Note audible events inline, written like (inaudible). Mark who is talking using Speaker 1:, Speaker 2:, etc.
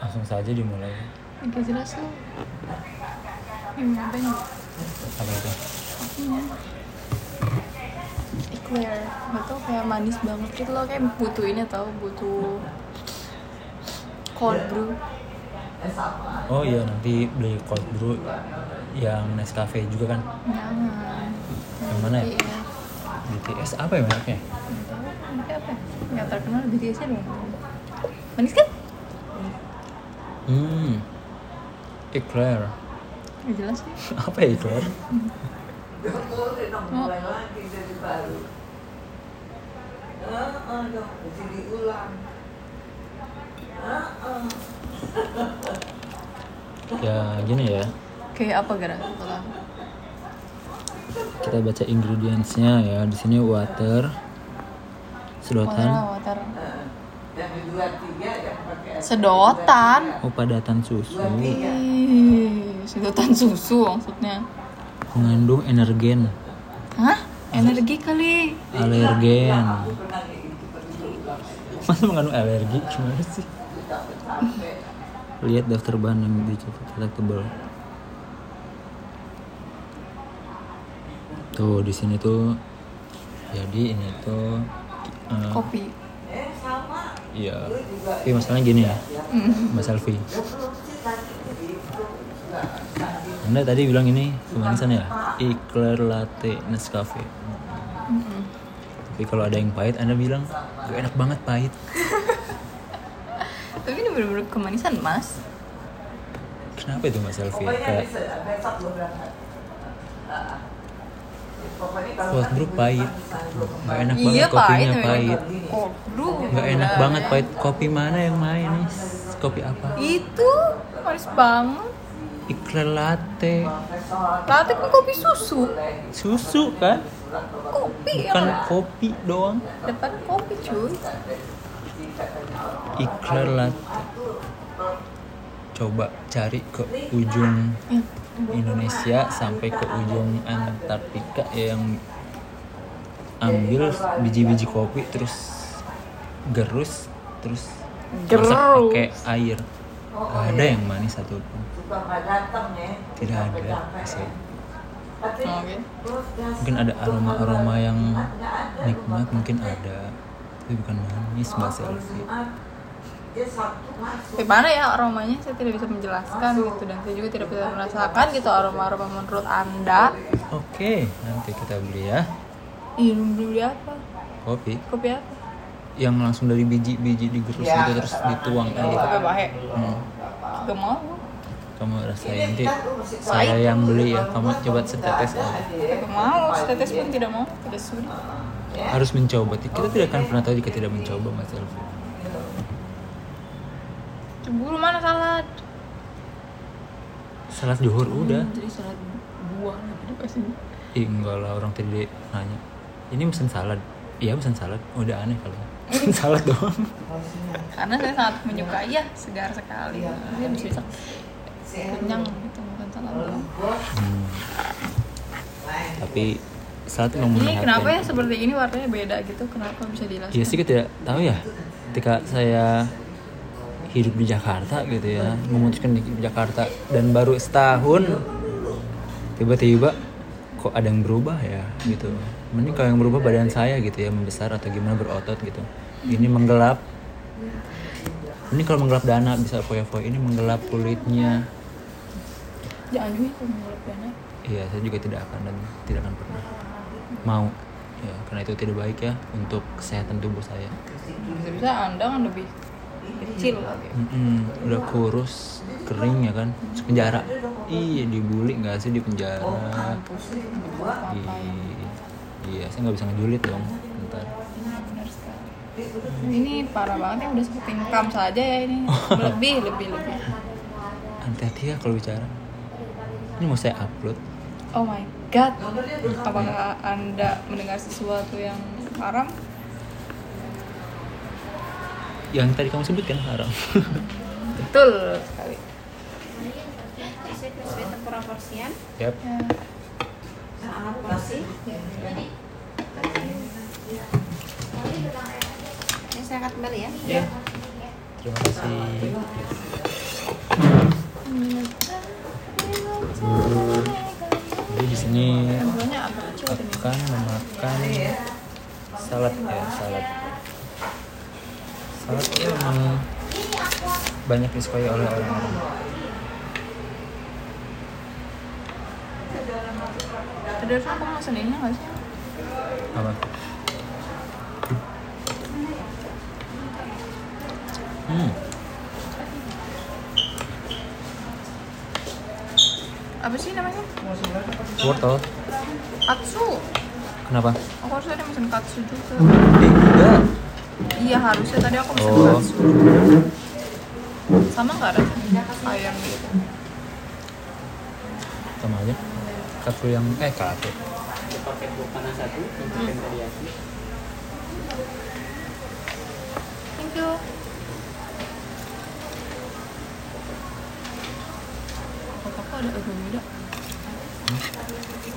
Speaker 1: Langsung saja dimulai.
Speaker 2: Gak jelas lu. Ini ngapain lu?
Speaker 1: Apa itu?
Speaker 2: Kopinya. Eclair. Gak tau kayak manis banget gitu loh. Kayak butuh ini tau. Butuh
Speaker 1: Iya.
Speaker 2: cold brew.
Speaker 1: Oh iya nanti beli cold brew yang Nescafe juga kan.
Speaker 2: Jangan.
Speaker 1: Yang mana ya?
Speaker 2: Iya.
Speaker 1: BTS apa ya mereknya?
Speaker 2: Nggak tahu, Ini apa? Gak terkenal BTS-nya dong. Manis kan?
Speaker 1: Hmm. Eclair. (laughs)
Speaker 2: Gak jelas sih.
Speaker 1: apa ya Eclair?
Speaker 2: Oh,
Speaker 1: Ya gini ya.
Speaker 2: kayak apa gara? Gak tau.
Speaker 1: Kita baca ingredientsnya ya. Di sini water,
Speaker 2: Water,
Speaker 1: sedotan,
Speaker 2: water. Sedotan.
Speaker 1: oh padatan susu,
Speaker 2: Ih, sedotan susu maksudnya.
Speaker 1: mengandung energen,
Speaker 2: Hah? Energi kali.
Speaker 1: alergen. Masa mengandung alergi gimana sih? Lihat daftar bahan yang dicatat selectable. Tuh di sini tuh jadi ini tuh eh,
Speaker 2: Kopi.
Speaker 1: Iya. Tapi masalahnya gini ya, Mbak Selvi. Anda tadi bilang ini kemanisan ya, Eclair latte Nescafe. Tapi kalau ada yang pahit, Anda bilang "Gak enak banget pahit.
Speaker 2: Tapi ini bener-bener kemanisan, Mas.
Speaker 1: Kenapa itu Mbak Selvi? Kayak Cold brew pahit, gak enak banget
Speaker 2: iya, pahit.
Speaker 1: kopinya pahit,
Speaker 2: Cold brew.
Speaker 1: gak enak banget pahit. Kopi mana yang manis? Kopi apa?
Speaker 2: Itu manis banget.
Speaker 1: Eclair latte,
Speaker 2: Latte kan kopi susu.
Speaker 1: susu kan?
Speaker 2: Kopi
Speaker 1: Bukan
Speaker 2: ya.
Speaker 1: kopi doang.
Speaker 2: Depan kopi, cuy.
Speaker 1: Iklan latte. Coba cari ke ujung
Speaker 2: Eh,
Speaker 1: Indonesia sampai ke ujung Antartika ya, yang ambil biji-biji kopi terus gerus terus masak
Speaker 2: Gerus.
Speaker 1: pakai air. Gak ada yang manis satupun. Tidak ada. asli.
Speaker 2: Oke.
Speaker 1: Mungkin ada aroma-aroma yang nikmat mungkin ada. Tapi bukan manis Mbak Selvi.
Speaker 2: Gimana ya aromanya? Saya tidak bisa menjelaskan gitu dan saya juga tidak bisa merasakan gitu aroma-aroma menurut Anda.
Speaker 1: Oke, nanti kita beli ya
Speaker 2: Ih, beli apa?
Speaker 1: kopi
Speaker 2: Kopi apa?
Speaker 1: yang langsung dari biji-biji digerus gitu terus dituang air.
Speaker 2: Kopi bahe.
Speaker 1: Hmm,
Speaker 2: Gak mau.
Speaker 1: kamu rasain nanti saya yang beli ya. Kamu coba setetes aja.
Speaker 2: Gak mau. Tetes pun tidak mau. Tidak sudah.
Speaker 1: Harus mencoba. Kita tidak akan pernah tahu jika tidak mencoba, Mas Elvi.
Speaker 2: Cemburu mana salad?
Speaker 1: Salat zuhur udah.
Speaker 2: Hmm, Jadi salad buah lagi deh pasti.
Speaker 1: Ih, enggak lah orang tadi nanya. Ini pesan salad. Iya pesan salad. Udah aneh kali. (laughs) Pesan salad doang.
Speaker 2: Karena saya sangat menyukai ya segar sekali. Saya bisa bisa kenyang gitu bukan salad doang.
Speaker 1: Hmm. Tapi salad memang
Speaker 2: Ini
Speaker 1: menyehatkan.
Speaker 2: kenapa ya seperti ini warnanya beda gitu? Kenapa bisa dijelaskan?
Speaker 1: Iya sih kita tidak tahu ya. Ketika saya hidup di Jakarta gitu ya, memutuskan hidup di Jakarta dan baru setahun tiba-tiba kok ada yang berubah ya gitu. Mending kalau yang berubah badan saya gitu ya membesar atau gimana berotot gitu. Ini menggelap. Ini kalau menggelap dana bisa foya-foya. Ini menggelap kulitnya.
Speaker 2: Jangan juga kalau Ya, menurut Diana.
Speaker 1: Iya, saya juga tidak akan dan tidak akan pernah mau. Ya, karena itu tidak baik ya untuk kesehatan tubuh saya.
Speaker 2: Bisa-bisa anda kan lebih kecil lagi.
Speaker 1: Mm-mm, udah kurus kering ya kan Terus penjara iya dibully nggak sih di penjara Ih, iya saya nggak bisa ngejulit dong ntar
Speaker 2: Benar sekali. Ini parah banget ya udah seperti ngekam saja ya
Speaker 1: (laughs)
Speaker 2: ini. Lebih, lebih, lebih.
Speaker 1: hati-hati ya kalau bicara ini mau saya upload
Speaker 2: Oh my god. Apakah anda mendengar sesuatu yang haram?
Speaker 1: yang tadi kamu sebutkan haram
Speaker 2: Betul sekali.
Speaker 3: Saya sesuai tempura porsian,
Speaker 1: yap
Speaker 2: Ya.
Speaker 3: alat porsi. Ini saya angkat kembali ya.
Speaker 1: Terima kasih. Jadi di sini
Speaker 2: Sebenarnya apa aja udah nih?
Speaker 1: akan memakan salad ya salad. Salad itu emang banyak disukai oleh orang-orang.
Speaker 2: Ada aku mau sendirinya nggak sih?
Speaker 1: Apa? Hmm.
Speaker 2: Apa sih namanya?
Speaker 1: Wortel.
Speaker 2: Katsu.
Speaker 1: Kenapa?
Speaker 2: Aku harusnya ada mesin katsu
Speaker 1: Eh,
Speaker 2: juga.
Speaker 1: enggak.
Speaker 2: Iya harusnya tadi aku pesen
Speaker 1: Oh.
Speaker 2: katsu. Sama nggak ada ayam gitu?
Speaker 1: Sama aja. Katsu yang eh katsu.
Speaker 4: pakai kuah panas satu untuk chicken teriyaki
Speaker 2: Thank you. Kok aku ada agak muda?